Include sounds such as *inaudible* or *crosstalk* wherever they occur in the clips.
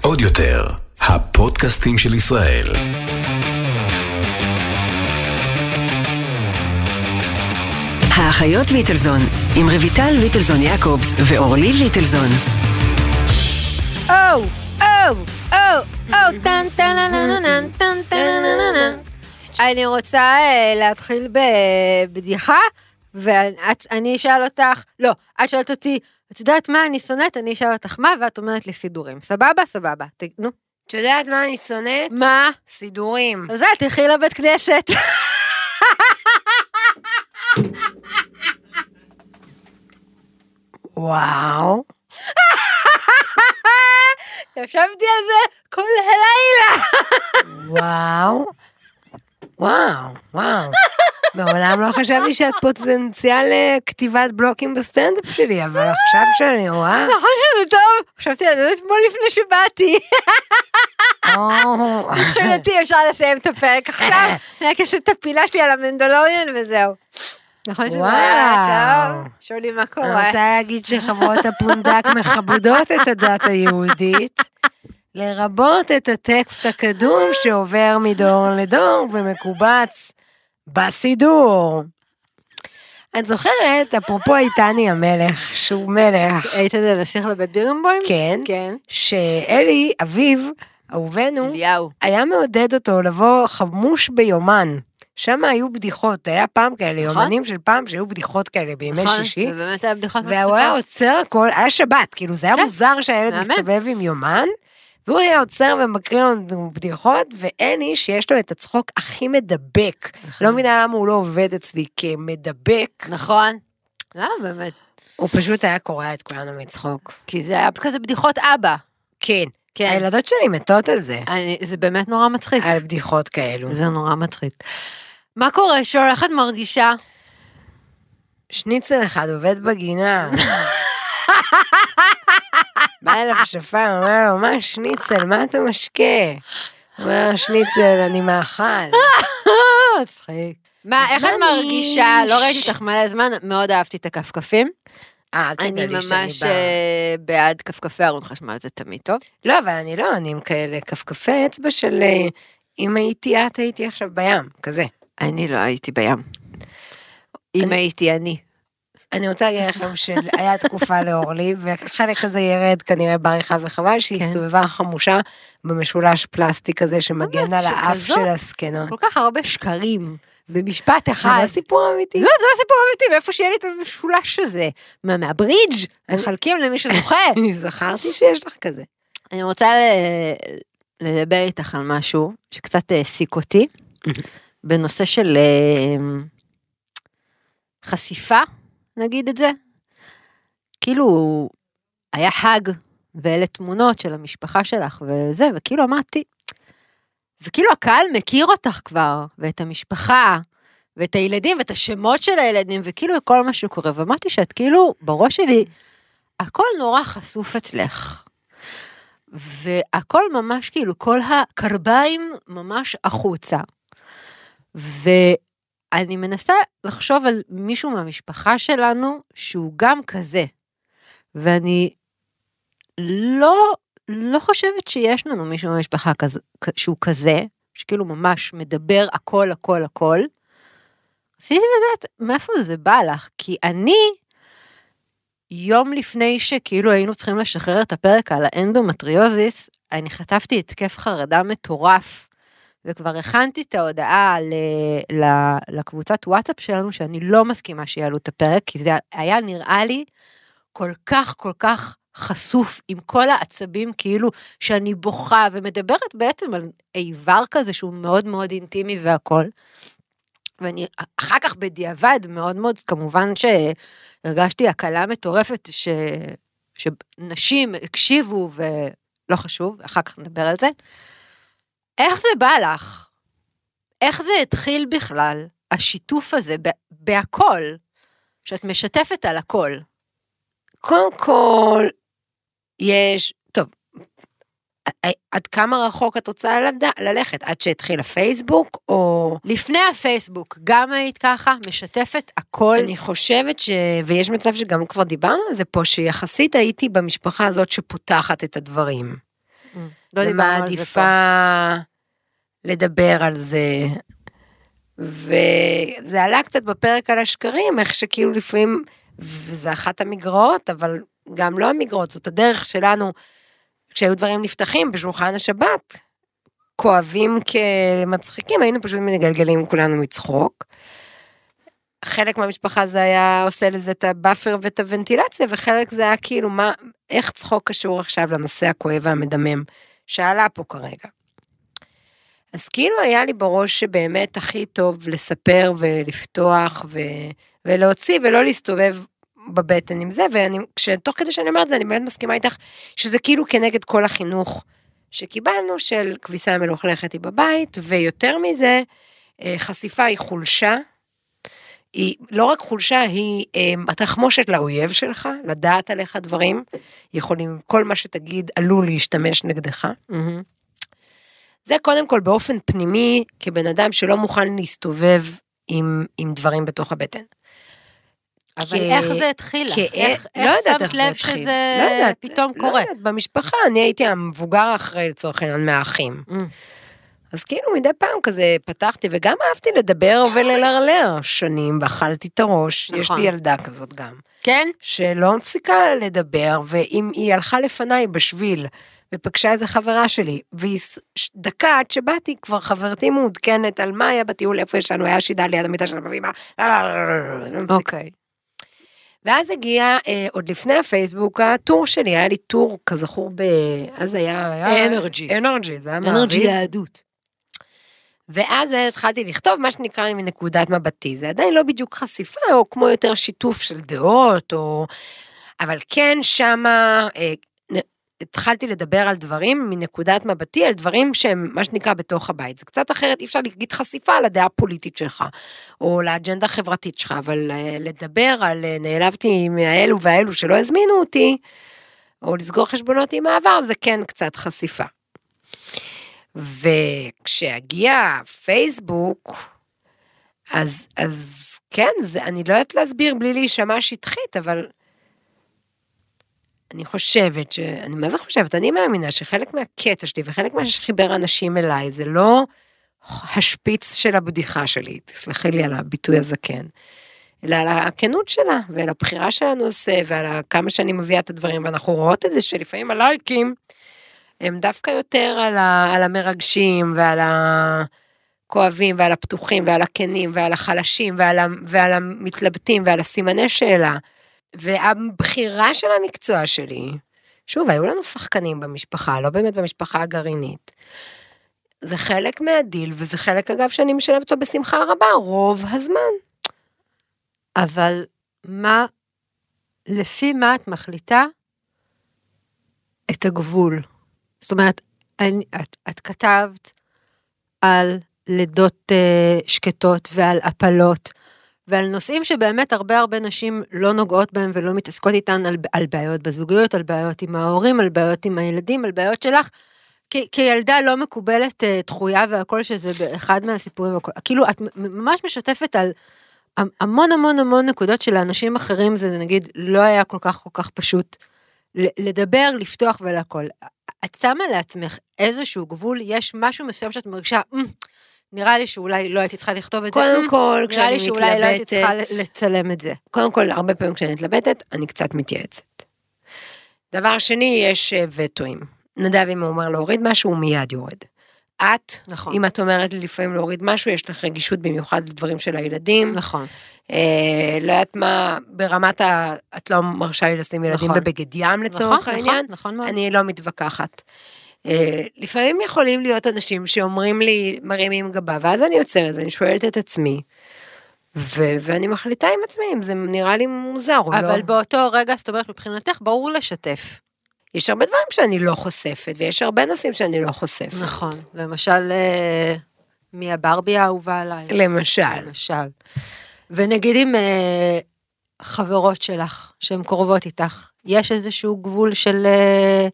עוד יותר, הפודקאסטים של ישראל. האחיות ליטלזון, עם רויטל ליטלזון יעקובס ואורלי ליטלזון. או, או, או, או, טן טן לה לה לה לה, טן טן לה לה לה לה. אני רוצה אה, להתחיל בבדיחה, ואני אשאל אותך, לא, את שואלת אותי, את יודעת מה אני שונאת? אני אשאל אותך מה, ואת אומרת לי סידורים. סבבה? סבבה. ת- נו. את יודעת מה אני שונאת? מה? סידורים. אז את תלכי לבית כנסת. וואו. ישבתי על זה כל הלילה. וואו. וואו, וואו. מעולם לא חשבתי שאת פוטנציאל לכתיבת בלוקים בסטנדאפ שלי, אבל עכשיו *laughs* שאני רואה... נכון שזה טוב? חשבתי על זה אתמול לפני *laughs* שבאתי. או. מבחינתי אפשר לסיים את הפרק *laughs* עכשיו, רק יש את הפילה שלי על המנדלוריאן וזהו. נכון שזה היה וואו. טוב? שולי, מה *laughs* אני קורה? רוצה להגיד שחברות הפונדק מכבדות את הדת היהודית, לרבות את הטקסט הקדום שעובר מדור לדור ומקובץ בסידור. את זוכרת, אפרופו איתני המלך, שהוא מלך, איתן הנסיך לבית בירנבוים? כן, אה, כן. שאלי, אביו, אהובנו, אליהו. היה מעודד אותו לבוא חמוש ביומן. שם היו בדיחות, היה פעם כאלה, נכון. יומנים של פעם שהיו בדיחות כאלה בימי נכון, שישי. זה באמת היה בדיחות והוא היה עוצר הכל, היה שבת, כאילו זה היה כן. מוזר שהילד מהמם. מסתובב עם יומן, והוא היה עוצר ומקריא לנו בדיחות, ואין איש שיש לו את הצחוק הכי מדבק. לא מבינה למה הוא לא עובד אצלי כמדבק, נכון. למה באמת? הוא פשוט היה קורע את כולנו מצחוק. כי זה היה כזה בדיחות אבא. כן, כן. הילדות שלי מתות על זה, אני- זה באמת נורא מצחיק. על בדיחות כאלו. זה נורא מצחיק. מה קורה, שול? איך את מרגישה? שניצל אחד עובד *laughs* בגינה. בא אליו שפר, אומר לו, מה שניצל, מה אתה משקה? אומר לו, שניצל, אני *laughs* מאכל. מצחיק. מה, איך את ממש. מרגישה? לא ראיתי אותך מלא זמן, מאוד אהבתי את הכפכפים. אה, אל אני תדאגי שאני באה. ממש אה, בעד כפכפי ארון חשמל, זה תמיד טוב. לא, אבל אני לא, אני עם כאלה כפכפי אצבע של אה, אם הייתי את, הייתי עכשיו בים, כזה. אני לא הייתי בים. אם הייתי אני. אני רוצה להגיד *laughs* לכם שהיה תקופה לאורלי, והחלק הזה ירד כנראה בעריכה וחבל, שהיא כן. הסתובבה חמושה במשולש פלסטיק הזה שמגן באמת, על האף שכזאת? של הזקנות. לא. כל כך הרבה שקרים במשפט זה אחד. לא סיפור אמיתי. לא, זה לא סיפור אמיתי, מאיפה שיהיה לי את המשולש הזה? מה, מהברידג'? מחלקים למי שזוכה. אני זכרתי שיש לך כזה. אני רוצה ל- לדבר איתך על משהו שקצת העסיק אותי, בנושא של אה, חשיפה, נגיד את זה. כאילו, היה חג, ואלה תמונות של המשפחה שלך וזה, וכאילו אמרתי, וכאילו הקהל מכיר אותך כבר, ואת המשפחה, ואת הילדים, ואת השמות של הילדים, וכאילו כל מה שקורה, ואמרתי שאת כאילו, בראש שלי, הכל נורא חשוף אצלך. והכל ממש כאילו, כל הקרביים ממש החוצה. ואני מנסה לחשוב על מישהו מהמשפחה שלנו שהוא גם כזה. ואני לא, לא חושבת שיש לנו מישהו במשפחה כזה, שהוא כזה, שכאילו ממש מדבר הכל הכל הכל. רציתי לדעת מאיפה זה בא לך, כי אני, יום לפני שכאילו היינו צריכים לשחרר את הפרק על האנדומטריוזיס, אני חטפתי התקף חרדה מטורף, וכבר הכנתי את ההודעה ל- ל- לקבוצת וואטסאפ שלנו, שאני לא מסכימה שיעלו את הפרק, כי זה היה נראה לי כל כך כל כך חשוף עם כל העצבים, כאילו שאני בוכה ומדברת בעצם על איבר כזה שהוא מאוד מאוד אינטימי והכול. ואני אחר כך בדיעבד מאוד מאוד, כמובן שהרגשתי הקלה מטורפת ש... שנשים הקשיבו ולא לא חשוב, אחר כך נדבר על זה. איך זה בא לך? איך זה התחיל בכלל, השיתוף הזה, ב- בהכל, שאת משתפת על הכל? קודם כל, יש, טוב, אה, עד כמה רחוק את רוצה לד- ללכת? עד שהתחיל הפייסבוק, או... לפני הפייסבוק, גם היית ככה, משתפת הכל. אני חושבת ש... ויש מצב שגם כבר דיברנו על זה פה, שיחסית הייתי במשפחה הזאת שפותחת את הדברים. לא דיברנו על זה פה. ומעדיפה לדבר על זה. וזה עלה קצת בפרק על השקרים, איך שכאילו לפעמים, וזה אחת המגרעות, אבל גם לא המגרעות, זאת הדרך שלנו, כשהיו דברים נפתחים בשולחן השבת, כואבים כמצחיקים, היינו פשוט מגלגלים כולנו מצחוק. חלק מהמשפחה זה היה עושה לזה את הבאפר ואת הוונטילציה, וחלק זה היה כאילו, מה, איך צחוק קשור עכשיו לנושא הכואב והמדמם שעלה פה כרגע. אז כאילו היה לי בראש שבאמת הכי טוב לספר ולפתוח ו... ולהוציא ולא להסתובב בבטן עם זה, וכשתוך כדי שאני אומרת זה אני באמת מסכימה איתך שזה כאילו כנגד כל החינוך שקיבלנו של כביסה מלוכלכת היא בבית, ויותר מזה, אה, חשיפה היא חולשה. היא לא רק חולשה, היא אה, התחמושת לאויב שלך, לדעת עליך דברים, יכולים, כל מה שתגיד עלול להשתמש נגדך. מהמם. זה קודם כל באופן פנימי, כבן אדם שלא מוכן להסתובב עם, עם דברים בתוך הבטן. אבל כ- איך זה התחיל לך? כ- איך לא איך יודעת שמת איך זה לב התחיל. שזה לא יודעת, פתאום לא קורה? יודעת, במשפחה, אני הייתי המבוגר האחראי לצורך העניין מהאחים. Mm. אז כאילו מדי פעם כזה פתחתי, וגם אהבתי *coughs* לדבר וללרלר שנים, ואכלתי את הראש, יש נכון. לי ילדה כזאת גם. כן? שלא מפסיקה לדבר, ואם היא הלכה לפניי בשביל, ופגשה איזה חברה שלי, והיא ס- ש- דקה עד שבאתי, כבר חברתי מעודכנת על מה היה בטיול, איפה ישנו, היה שידה ליד המיטה של הבבימה, לא, לא, לא, לא, לא, לא מפסיקה. אוקיי. ואז הגיע, אה, עוד לפני הפייסבוק, הטור שלי, היה לי טור, כזכור, ב... אז היה... היה- Energy. אנרג'י, זה היה מעריב. יהדות. ואז באמת התחלתי לכתוב מה שנקרא מנקודת מבטי. זה עדיין לא בדיוק חשיפה, או כמו יותר שיתוף של דעות, או... אבל כן, שמה... אה, נ- התחלתי לדבר על דברים מנקודת מבטי, על דברים שהם מה שנקרא בתוך הבית. זה קצת אחרת, אי אפשר להגיד חשיפה לדעה הפוליטית שלך, או לאג'נדה החברתית שלך, אבל אה, לדבר על אה, נעלבתי מהאלו והאלו שלא הזמינו אותי, או לסגור חשבונות עם העבר, זה כן קצת חשיפה. וכשהגיע פייסבוק, אז, אז כן, זה, אני לא יודעת להסביר בלי להישמע שטחית, אבל אני חושבת ש... אני מה זה חושבת? אני מאמינה שחלק מהקטע שלי וחלק מה שחיבר אנשים אליי, זה לא השפיץ של הבדיחה שלי, תסלחי לי על הביטוי הזקן, אלא על הכנות שלה, ועל הבחירה של הנושא, ועל ה- כמה שאני מביאה את הדברים, ואנחנו רואות את זה שלפעמים הלייקים הם דווקא יותר על, ה, על המרגשים ועל הכואבים ועל הפתוחים ועל הכנים ועל החלשים ועל, ה, ועל המתלבטים ועל הסימני שאלה. והבחירה של המקצוע שלי, שוב, היו לנו שחקנים במשפחה, לא באמת במשפחה הגרעינית. זה חלק מהדיל, וזה חלק, אגב, שאני משלמת אותו בשמחה רבה, רוב הזמן. אבל מה, לפי מה את מחליטה את הגבול? זאת אומרת, אני, את, את כתבת על לידות אה, שקטות ועל הפלות ועל נושאים שבאמת הרבה הרבה נשים לא נוגעות בהם ולא מתעסקות איתן על, על בעיות בזוגיות, על בעיות עם ההורים, על בעיות עם הילדים, על בעיות שלך. כ, כילדה לא מקובלת אה, דחויה והכל שזה באחד מהסיפורים, והכל. כאילו את מ- ממש משתפת על המ- המון המון המון נקודות שלאנשים אחרים זה נגיד לא היה כל כך כל כך פשוט ל- לדבר, לפתוח ולהכל. את שמה לעצמך איזשהו גבול, יש משהו מסוים שאת מרגישה, "מ, נראה לי שאולי לא הייתי צריכה לכתוב את זה, "מ, קודם כל, כשאני מתלבטת... נראה לי שאולי לא הייתי צריכה ל- לצלם את זה. קודם כל, הרבה פעמים כשאני מתלבטת, אני קצת מתייעצת. דבר שני, יש אה, וטואים. נדב, אם הוא אומר להוריד משהו, הוא מיד יורד. את, נכון. אם את אומרת לי לפעמים להוריד משהו, יש לך רגישות במיוחד לדברים של הילדים. נכון. אה, לא יודעת מה, ברמת ה... את לא מרשה לי לשים ילדים נכון. בבגד ים לצורך נכון, העניין. נכון, נכון מאוד. אני לא מתווכחת. אה, לפעמים יכולים להיות אנשים שאומרים לי, מרימים גבה, ואז אני עוצרת ואני שואלת את עצמי, ו- ואני מחליטה עם עצמי אם זה נראה לי מוזר או לא. אבל באותו רגע, זאת אומרת, מבחינתך, ברור לשתף. יש הרבה דברים שאני לא חושפת, ויש הרבה נושאים שאני לא חושפת. נכון. למשל, אה, מי הברבי האהובה עלייך. למשל. אה, למשל. ונגיד עם אה, חברות שלך, שהן קרובות איתך, יש איזשהו גבול של אה,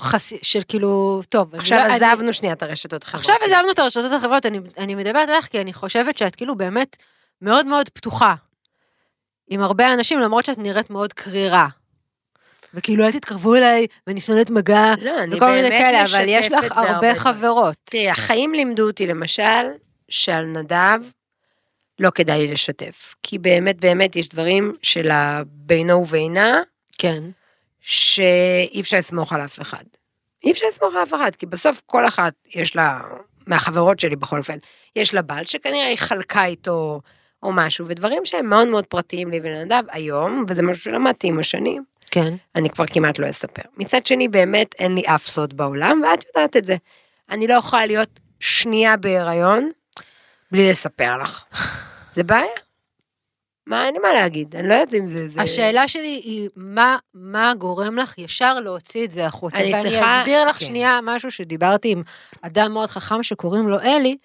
חס... של כאילו, טוב. אני עכשיו לא- אני- עזבנו שנייה את הרשתות החברתיות. עכשיו עזבנו את הרשתות החברתיות, אני, אני מדברת עליך כי אני חושבת שאת כאילו באמת מאוד מאוד פתוחה. עם הרבה אנשים, למרות שאת נראית מאוד קרירה. וכאילו, אל תתקרבו אליי, ואני שונאת מגע, לא, אני וכל מיני באמת כאלה, משתפת אבל יש לך בהרבה הרבה דברים. חברות. תראי, החיים לימדו אותי למשל, שעל נדב לא כדאי לי לשתף. כי באמת באמת יש דברים של הבינו ובינה, כן. שאי אפשר לסמוך על אף אחד. אי אפשר לסמוך על אף אחד, כי בסוף כל אחת יש לה, מהחברות שלי בכל אופן, יש לה בעל שכנראה היא חלקה איתו או משהו, ודברים שהם מאוד מאוד פרטיים לי ולנדב היום, וזה משהו שלמדתי עם השנים. כן. אני כבר כמעט לא אספר. מצד שני, באמת אין לי אף סוד בעולם, ואת יודעת את זה. אני לא יכולה להיות שנייה בהיריון בלי לספר לך. זה בעיה. מה, אין לי מה להגיד, אני לא יודעת אם זה... זה... השאלה שלי היא, מה, מה גורם לך ישר להוציא את זה החוצה? אני ואני צריכה- אסביר לך כן. שנייה משהו שדיברתי עם אדם מאוד חכם שקוראים לו אלי,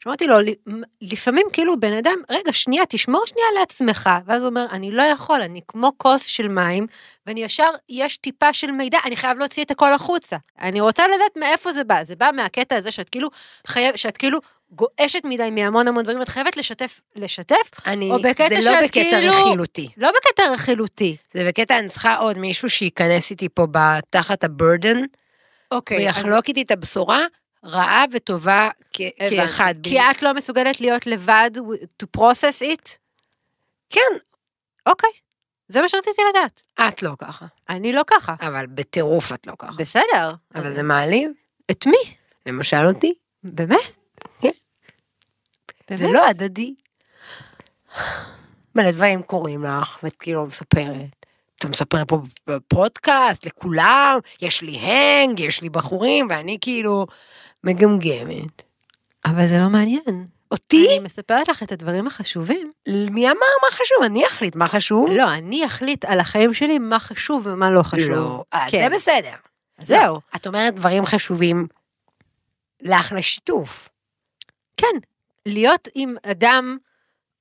שאמרתי לו, "ל- לפעמים כאילו בן אדם, רגע, שנייה, תשמור שנייה לעצמך, ואז הוא אומר, אני לא יכול, אני כמו כוס של מים, ואני ישר, יש טיפה של מידע, אני חייב להוציא את הכל החוצה. אני רוצה לדעת מאיפה זה בא, זה בא מהקטע הזה שאת כאילו, חייב, שאת כאילו גועשת מדי מהמון המון דברים, את חייבת לשתף, לשתף, אני... או בקטע זה לא שאת בקטע כאילו- רכילותי. לא בקטע רכילותי. זה בקטע אני צריכה עוד מישהו שייכנס איתי פה ב- תחת הברדן, אוקיי, ויחלוק איתי את הבשורה רעה וטובה כ- הבנתי. כאחד. כי את לא מסוגלת להיות לבד, to process it? כן, אוקיי, זה מה שרציתי לדעת. את לא ככה. אני לא ככה. אבל בטירוף את לא ככה. בסדר. אבל זה מעליב, את מי? למשל אותי. באמת? כן. זה באמת? לא הדדי. מלא דברים קורים לך, ואת כאילו לא מספרת. אתה מספר פה בפודקאסט לכולם, יש לי הנג, יש לי בחורים, ואני כאילו מגמגמת. אבל זה לא מעניין. אותי? אני מספרת לך את הדברים החשובים. מי אמר מה חשוב? אני אחליט מה חשוב. לא, אני אחליט על החיים שלי מה חשוב ומה לא חשוב. לא, אה, כן. לא. זה בסדר. זהו. את אומרת דברים חשובים לך לשיתוף. כן, להיות עם אדם...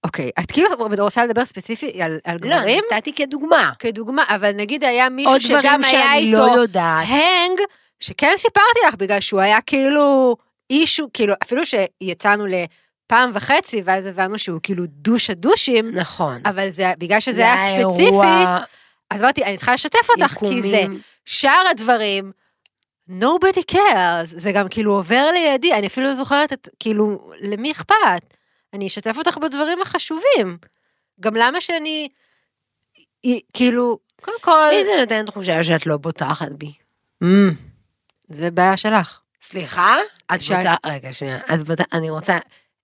אוקיי, את כאילו רוצה לדבר ספציפי על על לא, אני גברים? נתתי כדוגמה. כדוגמה, אבל נגיד היה מישהו עוד דברים שגם היה שאני איתו... לא יודעת. הנג, שכן סיפרתי לך, בגלל שהוא היה כאילו אישו, כאילו, אפילו שיצאנו לפעם וחצי, ואז הבנו שהוא כאילו דוש הדושים, נכון. אבל זה, בגלל שזה היה לאירוע, ספציפית, אז אמרתי, אני צריכה לשתף אותך, כי זה עיקומים. שאר הדברים, nobody cares, זה גם כאילו עובר לידי, אני אפילו לא זוכרת את, כאילו, למי אכפת? אני אשתף אותך בדברים החשובים. גם למה שאני, אי- כאילו, קודם כל... לי זה נותן תחושה שאת לא בוטחת בי. Mm, זה בעיה שלך. סליחה? את שאת- בוטחת, רגע, שנייה. את בוטחת, אני רוצה...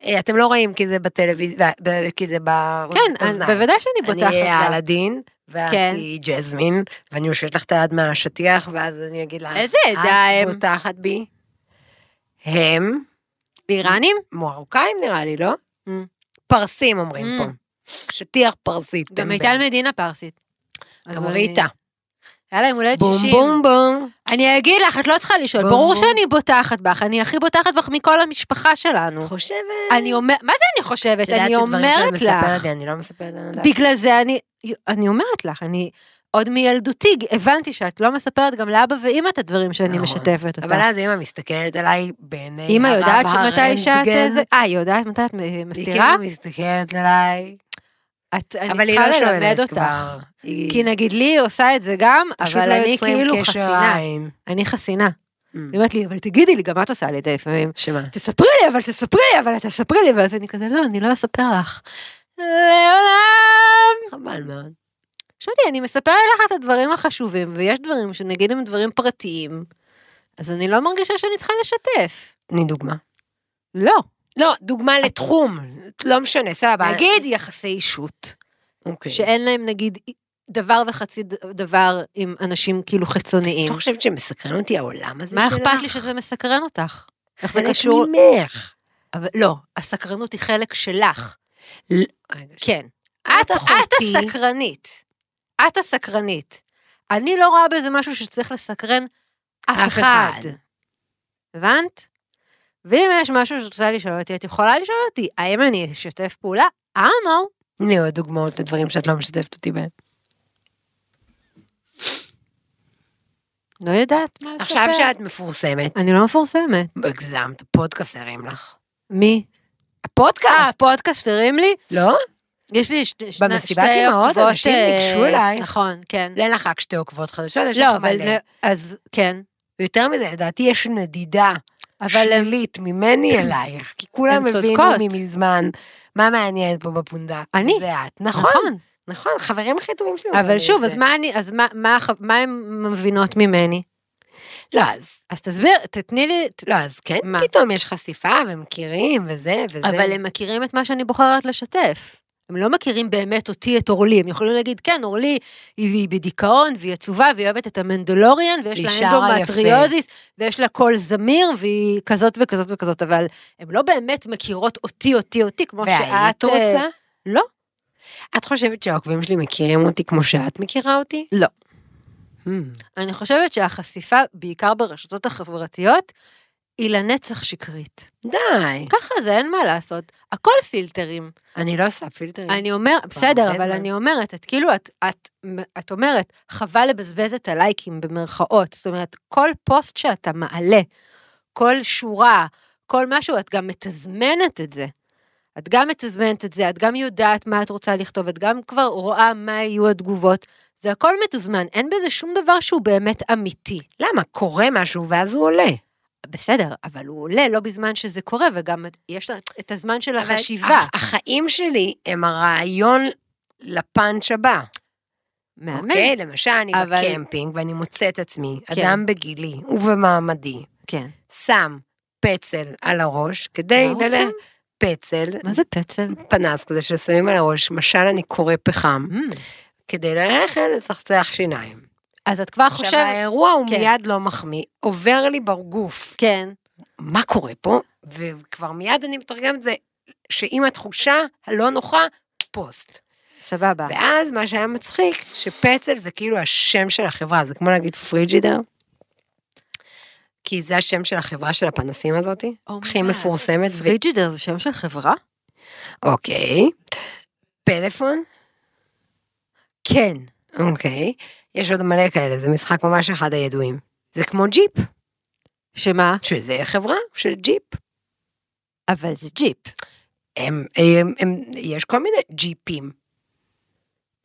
אה, אתם לא רואים כי זה בטלוויזיה, ב- כי זה באוזניים. כן, אז בוודאי שאני בוטחת. אני לה. אה, אלאדין, ואת כן. היא ג'זמין, ואני יושבת לך את היד מהשטיח, ואז אני אגיד לה... איזה עדה את הם?" בוטחת בי. הם איראנים? מרוקאים נראה לי, לא? Mm. פרסים אומרים Mm. פה. שטיח פרסית. גם טמבל. מיטל מדינה פרסית. אז גם בואי- ריטה. היה להם הולדת בום 60. בום בום. אני אגיד לך, את לא צריכה לשאול, בום, ברור בום. שאני בוטחת בך, אני הכי בוטחת בך מכל המשפחה שלנו. את חושבת? אני אומרת, מה זה אני חושבת? את יודעת אני שדברים שאת אומרת מספרת לך. לי, אני לא מספרת לנדב. בגלל זה אני, אני אומרת לך, אני עוד מילדותי הבנתי שאת לא מספרת גם לאבא ואימא את הדברים שאני נכון. משתפת אותך. אבל אז אמא מסתכלת עליי בעיני אימא הרב יודעת שמתי שאת... הרנטגן. זה- אה, היא יודעת מתי את היא מסתירה? כאילו מסתכלת עליי. את, אני אבל היא צריכה לא שואלת ללמד אותך. כבר. היא- כי נגיד לי היא עושה את זה גם, פשוט אבל לא אני יוצרים כאילו קשר חסינה. עין. אני חסינה. Mm. היא אומרת לי, אבל תגידי לי, גם את עושה לי את זה לפעמים. שמה? תספרי לי, אבל תספרי לי, אבל תספרי לי, ואז אני כזה, לא, אני לא אספר לך. לעולם. חבל מאוד. שולי, אני מספרת לך את הדברים החשובים, ויש דברים שנגיד הם דברים פרטיים, אז אני לא מרגישה שאני צריכה לשתף. תני דוגמה. לא. לא, דוגמה לתחום. לא משנה, סבבה. נגיד יחסי אישות, אוקיי. שאין להם נגיד דבר וחצי ד- דבר עם אנשים כאילו חיצוניים. את לא חושבת שמסקרן אותי העולם הזה מה שלך? אכפת לי שזה מסקרן אותך? איך זה חלק קשור? ממך. אבל לא, הסקרנות היא חלק שלך. רגע, ש- כן. את את, את אחותי. הסקרנית. את הסקרנית. אני לא רואה בזה משהו שצריך לסקרן אף אף אחד. אחד. הבנת? ואם יש משהו שאת רוצה לשאול אותי, את יכולה לשאול אותי, האם אני אשתף פעולה? I don't know. תני עוד דוגמאות לדברים שאת לא משתפת אותי בהם. לא יודעת מה לספר. עכשיו שאת מפורסמת, אני לא מפורסמת. הגזמת, הפודקאסט הרים לך. מי? אה, הפודקאסט, הפודקאסט הרים אה, לי? לא? יש לי שתי שני- במסיבת שתי אימהות, עוקבות, אנשים אה, ניגשו אלייך. נכון, כן. אין לך רק שתי עוקבות חדשות, יש לא, לך אבל מלא. זה- אז כן. יותר מזה, לדעתי יש נדידה אבל הם- שלילית ממני *clears throat* אלייך, כי כולם הן הבינו צודקות. ממזמן מה מעניין פה בפונדק. אני. זה את. נכון, נכון. נכון, חברים הכי טובים שלי. אומרים אבל לי שוב, את אז זה. מה אני, אז מה- מה הח- מה הן מבינות ממני? לא, אז... אז תסביר, תתני לי... ת- לא, אז כן, מה? פתאום יש חשיפה ומכירים וזה וזה. אבל הם מכירים את מה שאני בוחרת לשתף. הם לא מכירים באמת אותי, את אורלי. הם יכולים להגיד, כן, אורלי היא היא בדיכאון, והיא עצובה, והיא אוהבת את המנדלוריאן, ויש והיא לה שרה יפה." אנדומטריוזיס, ויש לה קול זמיר, והיא כזאת וכזאת וכזאת, אבל הן לא באמת מכירות אותי, אותי, אותי, כמו שאת... והיית אה, רוצה? לא. את חושבת שהעוקבים שלי מכירים אותי כמו שאת מכירה אותי? לא. Hmm. אני חושבת שהחשיפה, בעיקר ברשתות החברתיות, היא לנצח שקרית. די. ככה זה, אין מה לעשות. הכל פילטרים. אני לא עושה פילטרים. אני אומר, בסדר, הרבה אבל זמן. אני אומרת, את כאילו, את, את, את אומרת, חבל לבזבז את הלייקים במרכאות. זאת אומרת, כל פוסט שאתה מעלה, כל שורה, כל משהו, את גם מתזמנת את זה. את גם מתזמנת את זה, את גם יודעת מה את רוצה לכתוב, את גם כבר רואה מה יהיו התגובות. זה הכל מתוזמן, אין בזה שום דבר שהוא באמת אמיתי. למה? קורה משהו ואז הוא עולה. בסדר, אבל הוא עולה לא בזמן שזה קורה, וגם את- יש לה את הזמן של אבל אה, החשיבה. הח- החיים שלי הם הרעיון לפאנץ' הבא. מהמם. אוקיי? למשל, אני אבל- בקמפינג ואני מוצאת את עצמי, כן. אדם בגילי ובמעמדי, כן. שם פצל על הראש כדי מה הוא ללכת... שם? פצל, מה זה פצל? פנס כזה ששמים על הראש, למשל אני קורא פחם, Mm. כדי ללכת לצחצח שיניים. אז את כבר עכשיו, חושבת, האירוע הוא כן. מיד לא מחמיא, עובר לי בגוף. כן, מה קורה פה? וכבר מיד אני מתרגמת את זה, שעם התחושה הלא נוחה, פוסט. סבבה. *laughs* ואז מה שהיה מצחיק, שפצל זה כאילו השם של החברה, זה כמו להגיד פריג'ידר. כי זה השם של החברה של הפנסים הזאתי, אומייגאד. הכי *laughs* מפורסמת. ו- פריג'ידר זה שם של חברה? אוקיי. פלאפון? כן. אוקיי. יש עוד מלא כאלה, זה משחק ממש אחד הידועים. זה כמו ג'יפ, שמה? שזה חברה של ג'יפ. אבל זה ג'יפ. הם, הם, הם, יש כל מיני ג'יפים.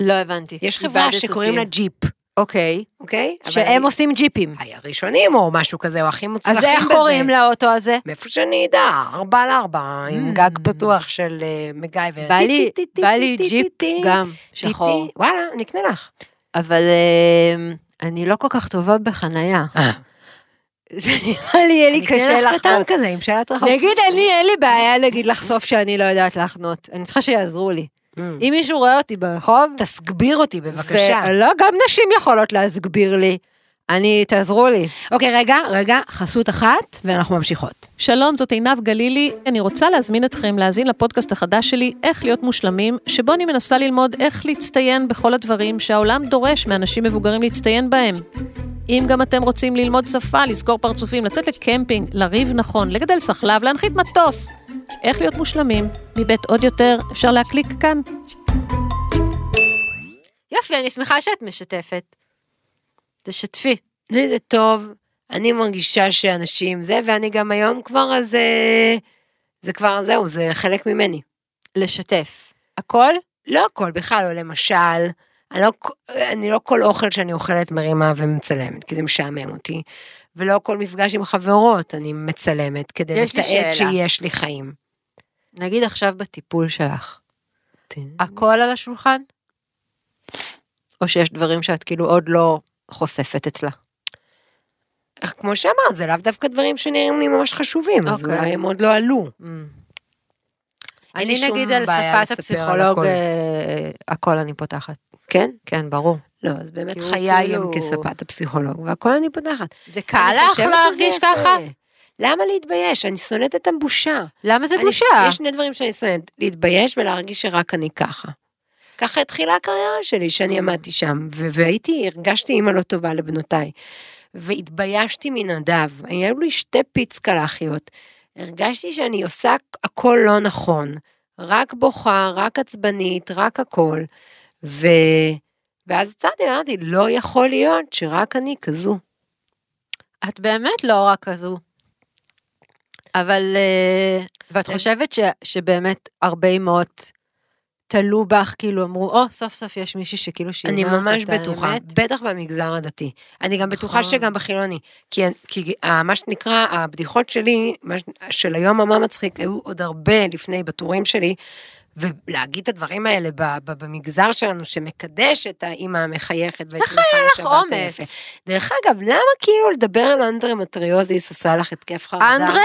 לא הבנתי. יש חברה איבדת שקוראים אותי. לה ג'יפ, אוקיי. אוקיי? אבל שהם עושים ג'יפים. אני- הראשונים או משהו כזה, או הכי מוצלחים אז בזה. איך קוראים לאוטו הזה? מאיפה שאני אדע, ארבע על ארבע, עם Mm. גג פתוח של אה, מגייבר. בא לי- טי, טי, טי, בא טי, לי טי, ג'יפ טי, גם טי, טי. שחור. וואלה, אני אקנה לך. אבל אמ, אני לא כל כך טובה בחנייה. *laughs* אה. זה נראה לי, יהיה לי אני קשה אקנה לך קטן לחנות. כזה, עם שאלת רחוב. נגיד אני, אין לי בעיה *laughs* להגיד לחשוף שאני לא יודעת לחנות. אני צריכה שיעזרו לי. Mm. אם מישהו רואה אותי ברחוב, תסגביר אותי בבקשה. ולא, גם נשים יכולות להסביר לי. אני, תעזרו לי. אוקיי, רגע, רגע, חסות אחת, ואנחנו ממשיכות. שלום, זאת עינב גלילי. אני רוצה להזמין אתכם להאזין לפודקאסט החדש שלי, איך להיות מושלמים, שבו אני מנסה ללמוד איך להצטיין בכל הדברים שהעולם דורש מאנשים מבוגרים להצטיין בהם. אם גם אתם רוצים ללמוד שפה, לזכור פרצופים, לצאת לקמפינג, לריב נכון, לגדל סחלב, להנחית מטוס, איך להיות מושלמים, מבית עוד יותר, אפשר להקליק כאן. יופי, אני שמחה שאת משתפת. תשתפי. לי זה טוב, אני מרגישה שאנשים זה, ואני גם היום כבר, אז אה, זה כבר, זהו, זה חלק ממני. לשתף. הכל? לא הכל בכלל, או למשל, אני לא, אני לא כל אוכל שאני אוכלת מרימה ומצלמת, כי זה משעמם אותי, ולא כל מפגש עם חברות אני מצלמת, כדי יש לי לתעד שאלה. שיש לי חיים. נגיד עכשיו בטיפול שלך. כן. הכל על השולחן? או שיש דברים שאת כאילו עוד לא חושפת אצלה? אך כמו שאמרת, זה לאו דווקא דברים שנראים לי ממש חשובים, אז אוקיי. אולי הם עוד לא עלו. אין אני לי שום נגיד על בעיה שפת לספר על הפסיכולוג, הכל. אה, הכל אני פותחת. כן? כן, ברור. לא, אז באמת כי הוא חיי הם כאילו- כספת הפסיכולוג, והכל אני פותחת. זה קל אני לך חושבת שזה להרגיש יפה. ככה? למה להתבייש? אני שונאת את הבושה. למה זה אני- בושה? יש שני דברים שאני שונאת, להתבייש ולהרגיש שרק אני ככה. ככה התחילה הקריירה שלי, אוקיי. שאני עמדתי שם, ו- והייתי, הרגשתי אימא לא טובה לבנותיי. והתביישתי מנדב, היו לי שתי פיצקה לאחיות. הרגשתי שאני עושה הכל לא נכון, רק בוכה, רק עצבנית, רק הכל. ו... ואז יצאתי, אמרתי, לא יכול להיות שרק אני כזו. את באמת לא הורה כזו. אבל, אה, ואת כן. חושבת ש, שבאמת הרבה אמהות תלו בך, כאילו אמרו, או, סוף סוף יש מישהי שכאילו שהיא אני אומרת ממש את בטוחה, האמת?" בטח במגזר הדתי. אני גם בטוחה נכון. שגם בחילוני. כי, כי ה- מה שנקרא, הבדיחות שלי, מה, ש- של היום המה מצחיק, היו עוד הרבה לפני בטורים שלי, ולהגיד את הדברים האלה ב, ב, במגזר שלנו, שמקדש את האימא המחייכת ואת איך היה לך אומץ. דרך אגב, למה כאילו לדבר על אנדרי מטריוזיס עשה לך התקף חרדה? אנדרי?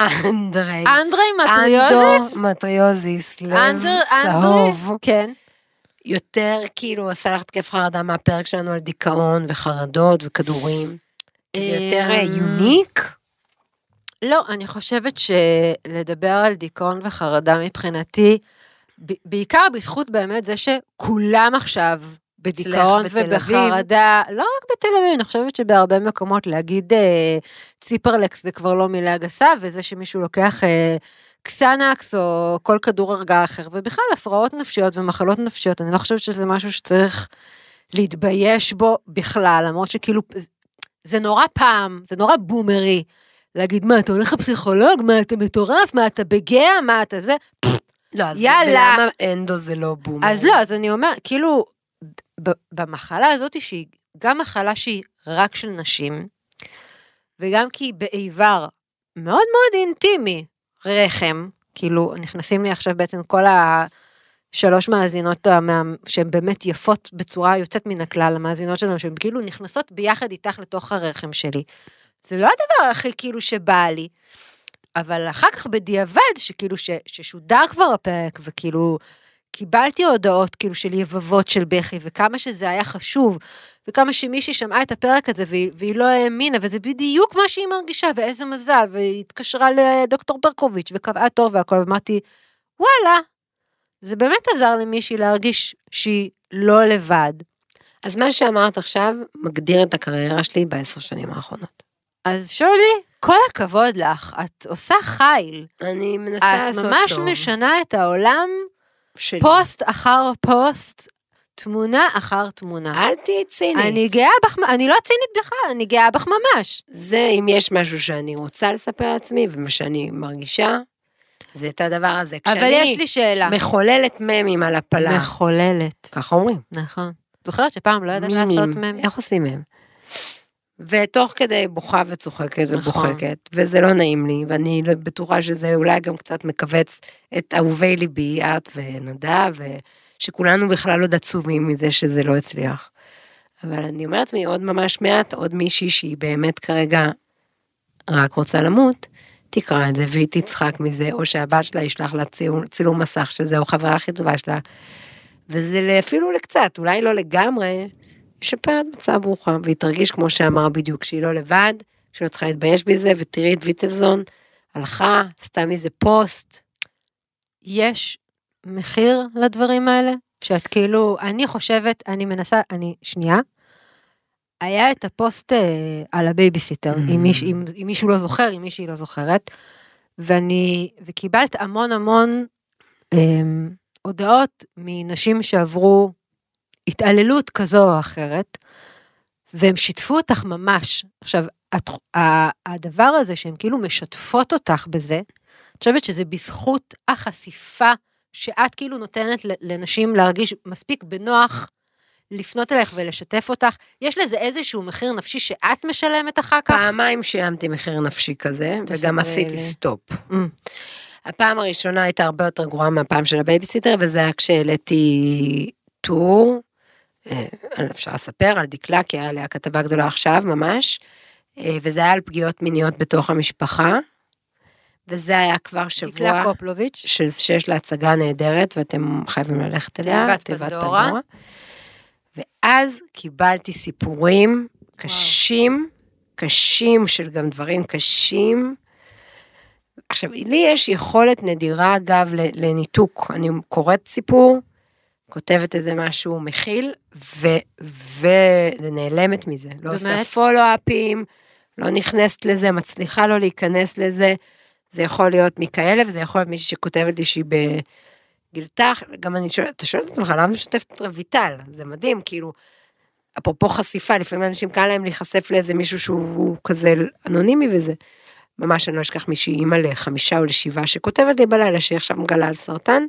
אנדרי. אנדרי מטריוזיס? אנדו מטריוזיס, לב אנדר- צהוב. אנדרי? כן. יותר כאילו עשה לך התקף חרדה מהפרק שלנו על דיכאון וחרדות וכדורים. כי זה יותר אה, אמ, יוניק. לא, אני חושבת שלדבר על דיכאון וחרדה מבחינתי, ב- בעיקר בזכות באמת זה שכולם עכשיו בדיכאון אצלך בתל אביב. ובחרדה, לא רק בתל אביב, אני חושבת שבהרבה מקומות להגיד אה, ציפרלקס זה כבר לא מילה גסה, וזה שמישהו לוקח אה, קסנקס או כל כדור הרגעה אחר, ובכלל הפרעות נפשיות ומחלות נפשיות, אני לא חושבת שזה משהו שצריך להתבייש בו בכלל, למרות שכאילו, זה נורא פעם, זה נורא בומרי. להגיד, מה, אתה הולך לפסיכולוג? מה, אתה מטורף? מה, אתה בגאה? מה, אתה זה? לא, אז יאללה. ולמה אנדו זה לא בומר? אז לא, אז אני אומרת, כאילו, ב- במחלה הזאת, שהיא גם מחלה שהיא רק של נשים, וגם כי היא באיבר מאוד מאוד אינטימי, רחם, כאילו, נכנסים לי עכשיו בעצם כל ה... שלוש מאזינות המה- שהן באמת יפות בצורה יוצאת מן הכלל, המאזינות שלנו, שהן כאילו נכנסות ביחד איתך לתוך הרחם שלי. זה לא הדבר הכי כאילו שבא לי, אבל אחר כך בדיעבד, שכאילו ש, ששודר כבר הפרק, וכאילו קיבלתי הודעות כאילו של יבבות של בכי, וכמה שזה היה חשוב, וכמה שמישהי שמעה את הפרק הזה והיא, והיא לא האמינה, וזה בדיוק מה שהיא מרגישה, ואיזה מזל, והיא התקשרה לדוקטור ברקוביץ' וקבעה תור והכל, ואמרתי, וואלה, זה באמת עזר למישהי להרגיש שהיא לא לבד. אז מה שאמרת עכשיו מגדיר את הקריירה שלי בעשר שנים האחרונות. אז שולי, כל הכבוד לך, את עושה חיל. אני מנסה את לעשות ממש טוב. משנה את העולם, שלי. פוסט אחר פוסט, תמונה אחר תמונה. אל תהיי צינית. אני גאה בך, אני לא צינית בכלל, אני גאה בך ממש. זה אם יש משהו שאני רוצה לספר לעצמי ומה שאני מרגישה, זה את הדבר הזה. אבל כשאני יש לי נכון. שאלה. מחוללת ממים על הפלה. מחוללת. כך אומרים. נכון. זוכרת שפעם לא ידעת מימים. לעשות מם? איך עושים מהם? ותוך כדי בוכה וצוחקת נכון. ובוחקת, וזה לא נעים לי, ואני לא- בטוחה שזה אולי גם קצת מכווץ את אהובי ליבי, את ונדב, ושכולנו בכלל עוד עצובים מזה שזה לא הצליח. אבל אני אומרת לעצמי, עוד ממש מעט, עוד מישהי שהיא באמת כרגע רק רוצה למות, תקרא את זה והיא תצחק מזה, או שהבת שלה ישלח לה צילום, צילום מסך של זה, או חברה הכי טובה שלה. וזה ל- אפילו לקצת, אולי לא לגמרי, ישפר את מצב רוחה, והיא תרגיש, כמו שאמר בדיוק, שהיא לא לבד, שהיא לא צריכה להתבייש בזה, ותראי את ויטלזון, הלכה, עשתה מזה פוסט. יש מחיר לדברים האלה? שאת כאילו, אני חושבת, אני מנסה, אני, שנייה. היה את הפוסט אה, על הבייביסיטר, Mm. אם, מיש, אם, אם מישהו לא זוכר, אם מישהי לא זוכרת, ואני, וקיבלת המון המון אמ, הודעות מנשים שעברו התעללות כזו או אחרת, והם שיתפו אותך ממש. עכשיו, את, ה- הדבר הזה שהן כאילו משתפות אותך בזה, אני חושבת שזה בזכות החשיפה שאת כאילו נותנת ל- לנשים להרגיש מספיק בנוח לפנות אלייך ולשתף אותך. יש לזה איזשהו מחיר נפשי שאת משלמת אחר כך? פעמיים שילמתי מחיר נפשי כזה, וגם תספרי עשיתי לי. סטופ. Mm. הפעם הראשונה הייתה הרבה יותר גרועה מהפעם של הבייביסיטר, וזה היה כשהעליתי טור, אה, אפשר לספר, על דקלה, כי היה עליה כתבה גדולה עכשיו ממש, אה, וזה היה על פגיעות מיניות בתוך המשפחה, וזה היה כבר שבוע. דקלה קופלוביץ'. של, שיש לה הצגה נהדרת ואתם חייבים ללכת אליה, תיבת פנדורה. ואז קיבלתי סיפורים קשים, קשים של גם דברים קשים. עכשיו, לי יש יכולת נדירה, אגב, ל- לניתוק. אני קוראת סיפור, כותבת איזה משהו מכיל, ו- ונעלמת מזה. לא עושה באמת? פולו-אפים, לא נכנסת לזה, מצליחה לא להיכנס לזה. זה יכול להיות מכאלה, וזה יכול להיות מישהי שכותבת לי שהיא בגילתך, גם אני שואלת, אתה שואל את עצמך, למה משתפת את רויטל? זה מדהים, כאילו, אפרופו חשיפה, לפעמים אנשים קל להם להיחשף לאיזה מישהו שהוא כזה אנונימי וזה. ממש אני לא אשכח מישהי, אימא לחמישה או לשבעה, שכותבת לי בלילה שהיא עכשיו מגלה על סרטן,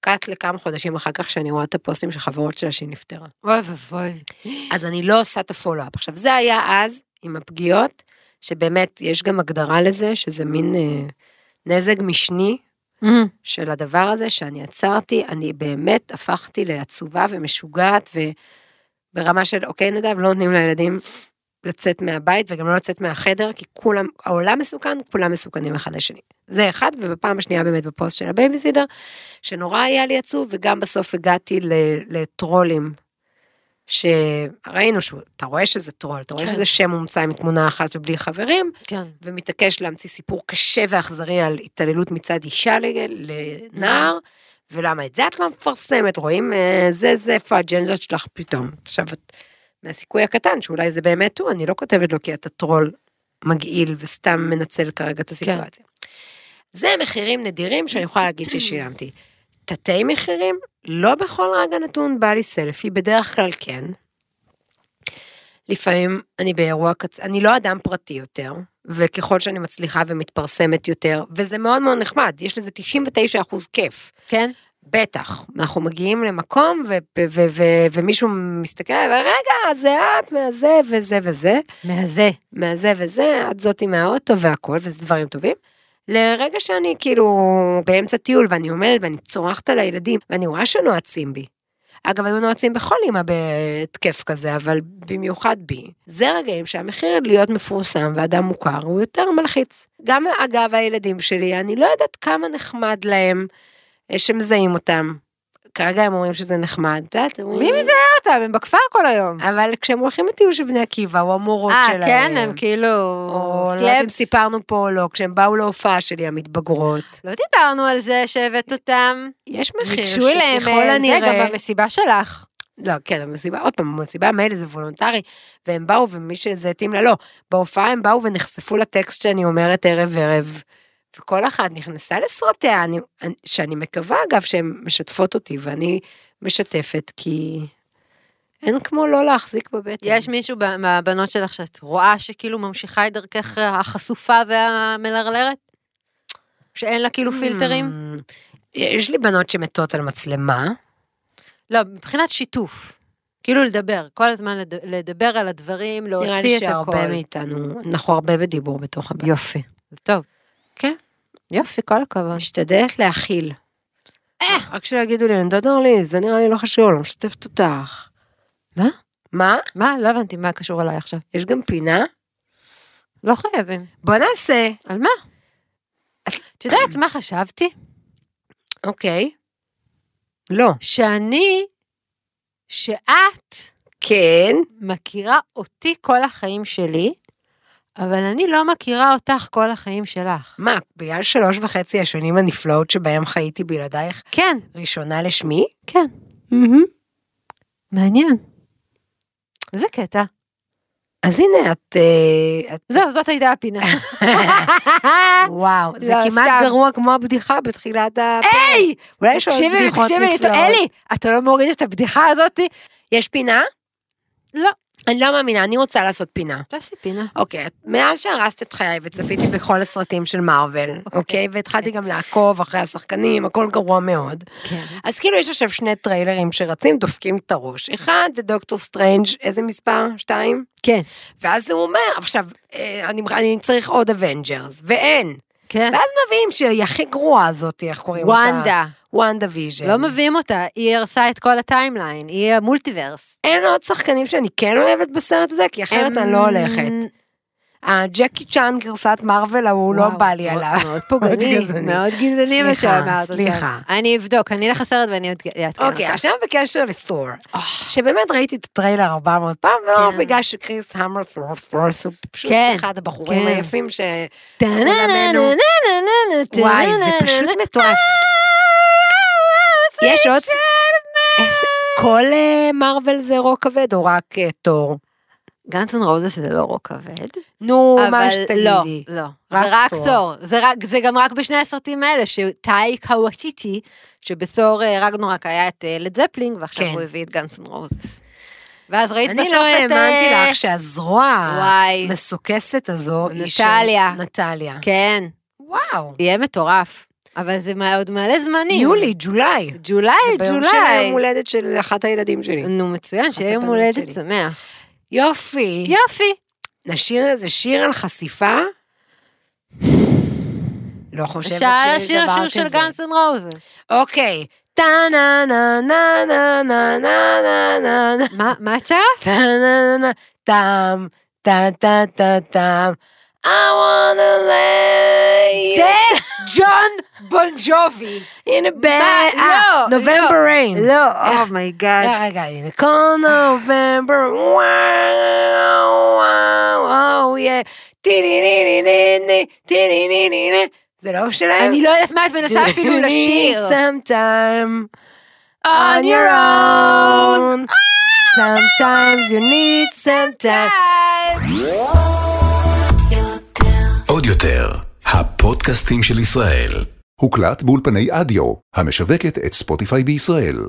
קאט לכמה חודשים אחר כך שאני רואה את הפוסטים של חברות שלה שהיא נפטרה. אוי ואבוי. אז אני לא עושה את הפולו-אפ. עכשיו, זה היה אז עם הפגיעות, שבאמת, יש גם הגדרה לזה, שזה מין אה, נזק משני Mm. של הדבר הזה, שאני עצרתי, אני באמת הפכתי לעצובה ומשוגעת, וברמה של, אוקיי, נדב, לא נותנים לילדים לצאת מהבית וגם לא לצאת מהחדר, כי כולם, העולם מסוכן, כולם מסוכנים אחד לשני. זה אחד, ובפעם השנייה באמת בפוסט של הבייביסידר, שנורא היה לי עצוב, וגם בסוף הגעתי ל- לטרולים, שראינו שהוא, אתה רואה שזה טרול, אתה רואה כן. שזה שם מומצא עם תמונה אחת ובלי חברים, כן. ומתעקש להמציא סיפור קשה ואכזרי על התעללות מצד אישה ל- לנער, ולמה את זה את לא מפרסמת, רואים אה, זה זה, איפה האג'נדות שלך פתאום. עכשיו, את- מהסיכוי הקטן שאולי זה באמת הוא, אני לא כותבת לו כי אתה טרול מגעיל וסתם מנצל כרגע את הסיטואציה. זה מחירים נדירים שאני יכולה להגיד ששילמתי. תתי מחירים, לא בכל רגע נתון בא לי סלפי, בדרך כלל כן. לפעמים אני באירוע קצר, אני לא אדם פרטי יותר, וככל שאני מצליחה ומתפרסמת יותר, וזה מאוד מאוד נחמד, יש לזה 99 אחוז כיף. כן? בטח, אנחנו מגיעים למקום ו- ו- ו- ו- ומישהו מסתכל, ורגע, זה את מהזה וזה וזה, מהזה. מהזה וזה, את זאתי מהאוטו והכל, וזה דברים טובים. לרגע שאני כאילו באמצע טיול ואני עומדת ואני צורחת על הילדים, ואני רואה שנועצים בי. אגב, היו נועצים בכל אימא בהתקף כזה, אבל במיוחד בי. זה רגעים שהמחיר להיות מפורסם ואדם מוכר הוא יותר מלחיץ. גם אגב הילדים שלי, אני לא יודעת כמה נחמד להם אה, שמזהים אותם. כרגע הם אומרים שזה נחמד, את יודעת, הם מי אומרים- מזהה אותם? הם בכפר כל היום. אבל כשהם הולכים לטיול של בני עקיבא, או המורות אה, שלהם. כן, הם כאילו... או לא יודעת אם סלאבס. סיפרנו פה או לא, כשהם באו להופעה שלי המתבגרות. לא דיברנו על זה שהבאת אותם. יש מחיר ניגשו אליהם, שככל אה, הנראה... זה גם במסיבה שלך. לא, כן, המסיבה, עוד פעם, המסיבה מילא זה וולונטרי, והם באו, ומי שזה התאים לה, לא. בהופעה הם באו ונחשפו לטקסט שאני אומרת ערב-ערב, וכל אחת נכנסה לסרטיה, אני, אני- שאני מקווה, אגב, שהן משתפות אותי, ואני משתפת, כי אין כמו לא להחזיק בבטן. יש מישהו ב- מהבנות שלך שאת רואה שכאילו ממשיכה את דרכך החשופה והמלרלרת? שאין לה כאילו פילטרים? Mm, יש לי בנות שמתות על מצלמה. לא, מבחינת שיתוף. כאילו לדבר, כל הזמן לד- לדבר על הדברים, נראה לי להוציא את הכל. שהרבה מאיתנו, אנחנו הרבה בדיבור בתוך הבית. יופי, זה טוב. כן. יופי, כל הכבוד. אה! משתדלת להכיל. רק שלא יגידו לי, אני יודעת אורלי, זה נראה לי לא חשוב, אני משתפת אותך. מה? מה? מה? לא הבנתי מה קשור אליי עכשיו. יש גם פינה? לא חייבים. בוא נעשה. על מה? את יודעת מה חשבתי? אוקיי. לא. שאני, שאת כן. מכירה אותי כל החיים שלי, אבל אני לא מכירה אותך כל החיים שלך. מה, בגלל שלוש וחצי השנים הנפלאות שבהם חייתי בלעדייך, כן, ראשונה לשמי? כן, מעניין. זה קטע. אז הנה, את... אה, את- זהו, זאת הייתה הפינה. וואו, זה לא, כמעט סתם. גרוע כמו הבדיחה בתחילת הפרק. היי! אולי יש עוד תקשיבי, בדיחות תקשיבי, לי, נפלאות. אלי, אתה לא מוריד את הבדיחה הזאתי? יש פינה? לא. אני לא מאמינה, אני רוצה לעשות פינה. תעשי לא פינה. אוקיי, את- מאז שהרסת את חיי וצפיתי בכל הסרטים של מארוול, אוקיי? והתחלתי גם לעקוב אחרי השחקנים, הכל גרוע מאוד. כן. אז כאילו יש עכשיו שני טריילרים שרצים, דופקים את הראש. אחד זה דוקטור סטרנג', איזה מספר? שתיים? כן. ואז הוא אומר, עכשיו, אה, אני, אני צריך עוד אבנג'רס, ואין. כן. ואז מביאים שהיא הכי גרועה הזאת, איך קוראים אותה? וונדה. וונדה ויז'ן. לא מביאים אותה, היא הרסה את כל הטיימליין, היא המולטיברס. אין עוד שחקנים שאני כן אוהבת בסרט הזה, כי אמ, אחרת אני לא הולכת. הג'קי צ'אן גרסת מארוול ההוא לא וואו, בא לי מאוד- עליו. *laughs* מאוד פוגעני, גזעני. מאוד גזעני מה סליחה, שאמרת עכשיו. סליחה. אני אבדוק, אני אלך לסרט ואני אעדכן אותך. אוקיי, עכשיו בקשר לתור, שבאמת ראיתי את הטריילר 400 פעם, ולא אה. כן. בגלל שכריס המרת'ורס הוא פשוט כן, אחד הבחורים כן. היפים ש... טה-נה-נה-נה-נה-נה-נה, וואי, זה טה-נה-נה-נה-נה. פשוט מטורף. יש עוד... איזה- כל אה, מארוול זה רוק כבד או רק אה, תור? גאנס אנד רוזס זה לא רוק כבד. נו, אבל מה לא, שתגידי. לא. רק זה רק תור. תור. זה רק- זה גם רק בשני הסרטים האלה, שטאיק הוואטיטי, שבתור רגנורק היה את אה, לד זפלינג, ועכשיו כן. הוא הביא את גאנס אנד רוזס. ואז ראית אני בסוף לא את... האמנתי אה, לך שהזרוע וואי. המסוכסת הזו היא של נטליה. נטליה. כן, וואו. יהיה מטורף. אבל זה מה- עוד מלא זמנים. יולי, ג'ולי. ג'ולי, זה ביום של ג'ולי. יום הולדת של אחת הילדים שלי. נו, מצוין, שיהיה יום הבנות הולדת שלי. שמח. יופי. יופי. נשיר איזה שיר על חשיפה? לא חושבת אפשר לשיר שיש דבר שיר כזה. של גאנס אנד רוזס. אוקיי. טה נה נה נה נה נה נה נה נה נה מה, מה את שרה? טה נה נה נה טאם טה טה טה טאם I wanna lay זה ג'ון בונג'ובי. in a bed מה? אה, לא, November לא. rain לא, איך- אומייגאד. רגע, רגע, הנה, כל נובמבר, וואו, וואו, וואו, יא, טיני-ני-ני-ני-ני, טיני-ני-ני-ני. זה לא שלהם? אני לא יודעת מה את מנסה אפילו You לשיר. need some time On your own. Ah, Sometimes you need some time. עוד יותר, הפודקאסטים של ישראל. הוקלט באולפני אדיו, המשווקת את ספוטיפיי בישראל.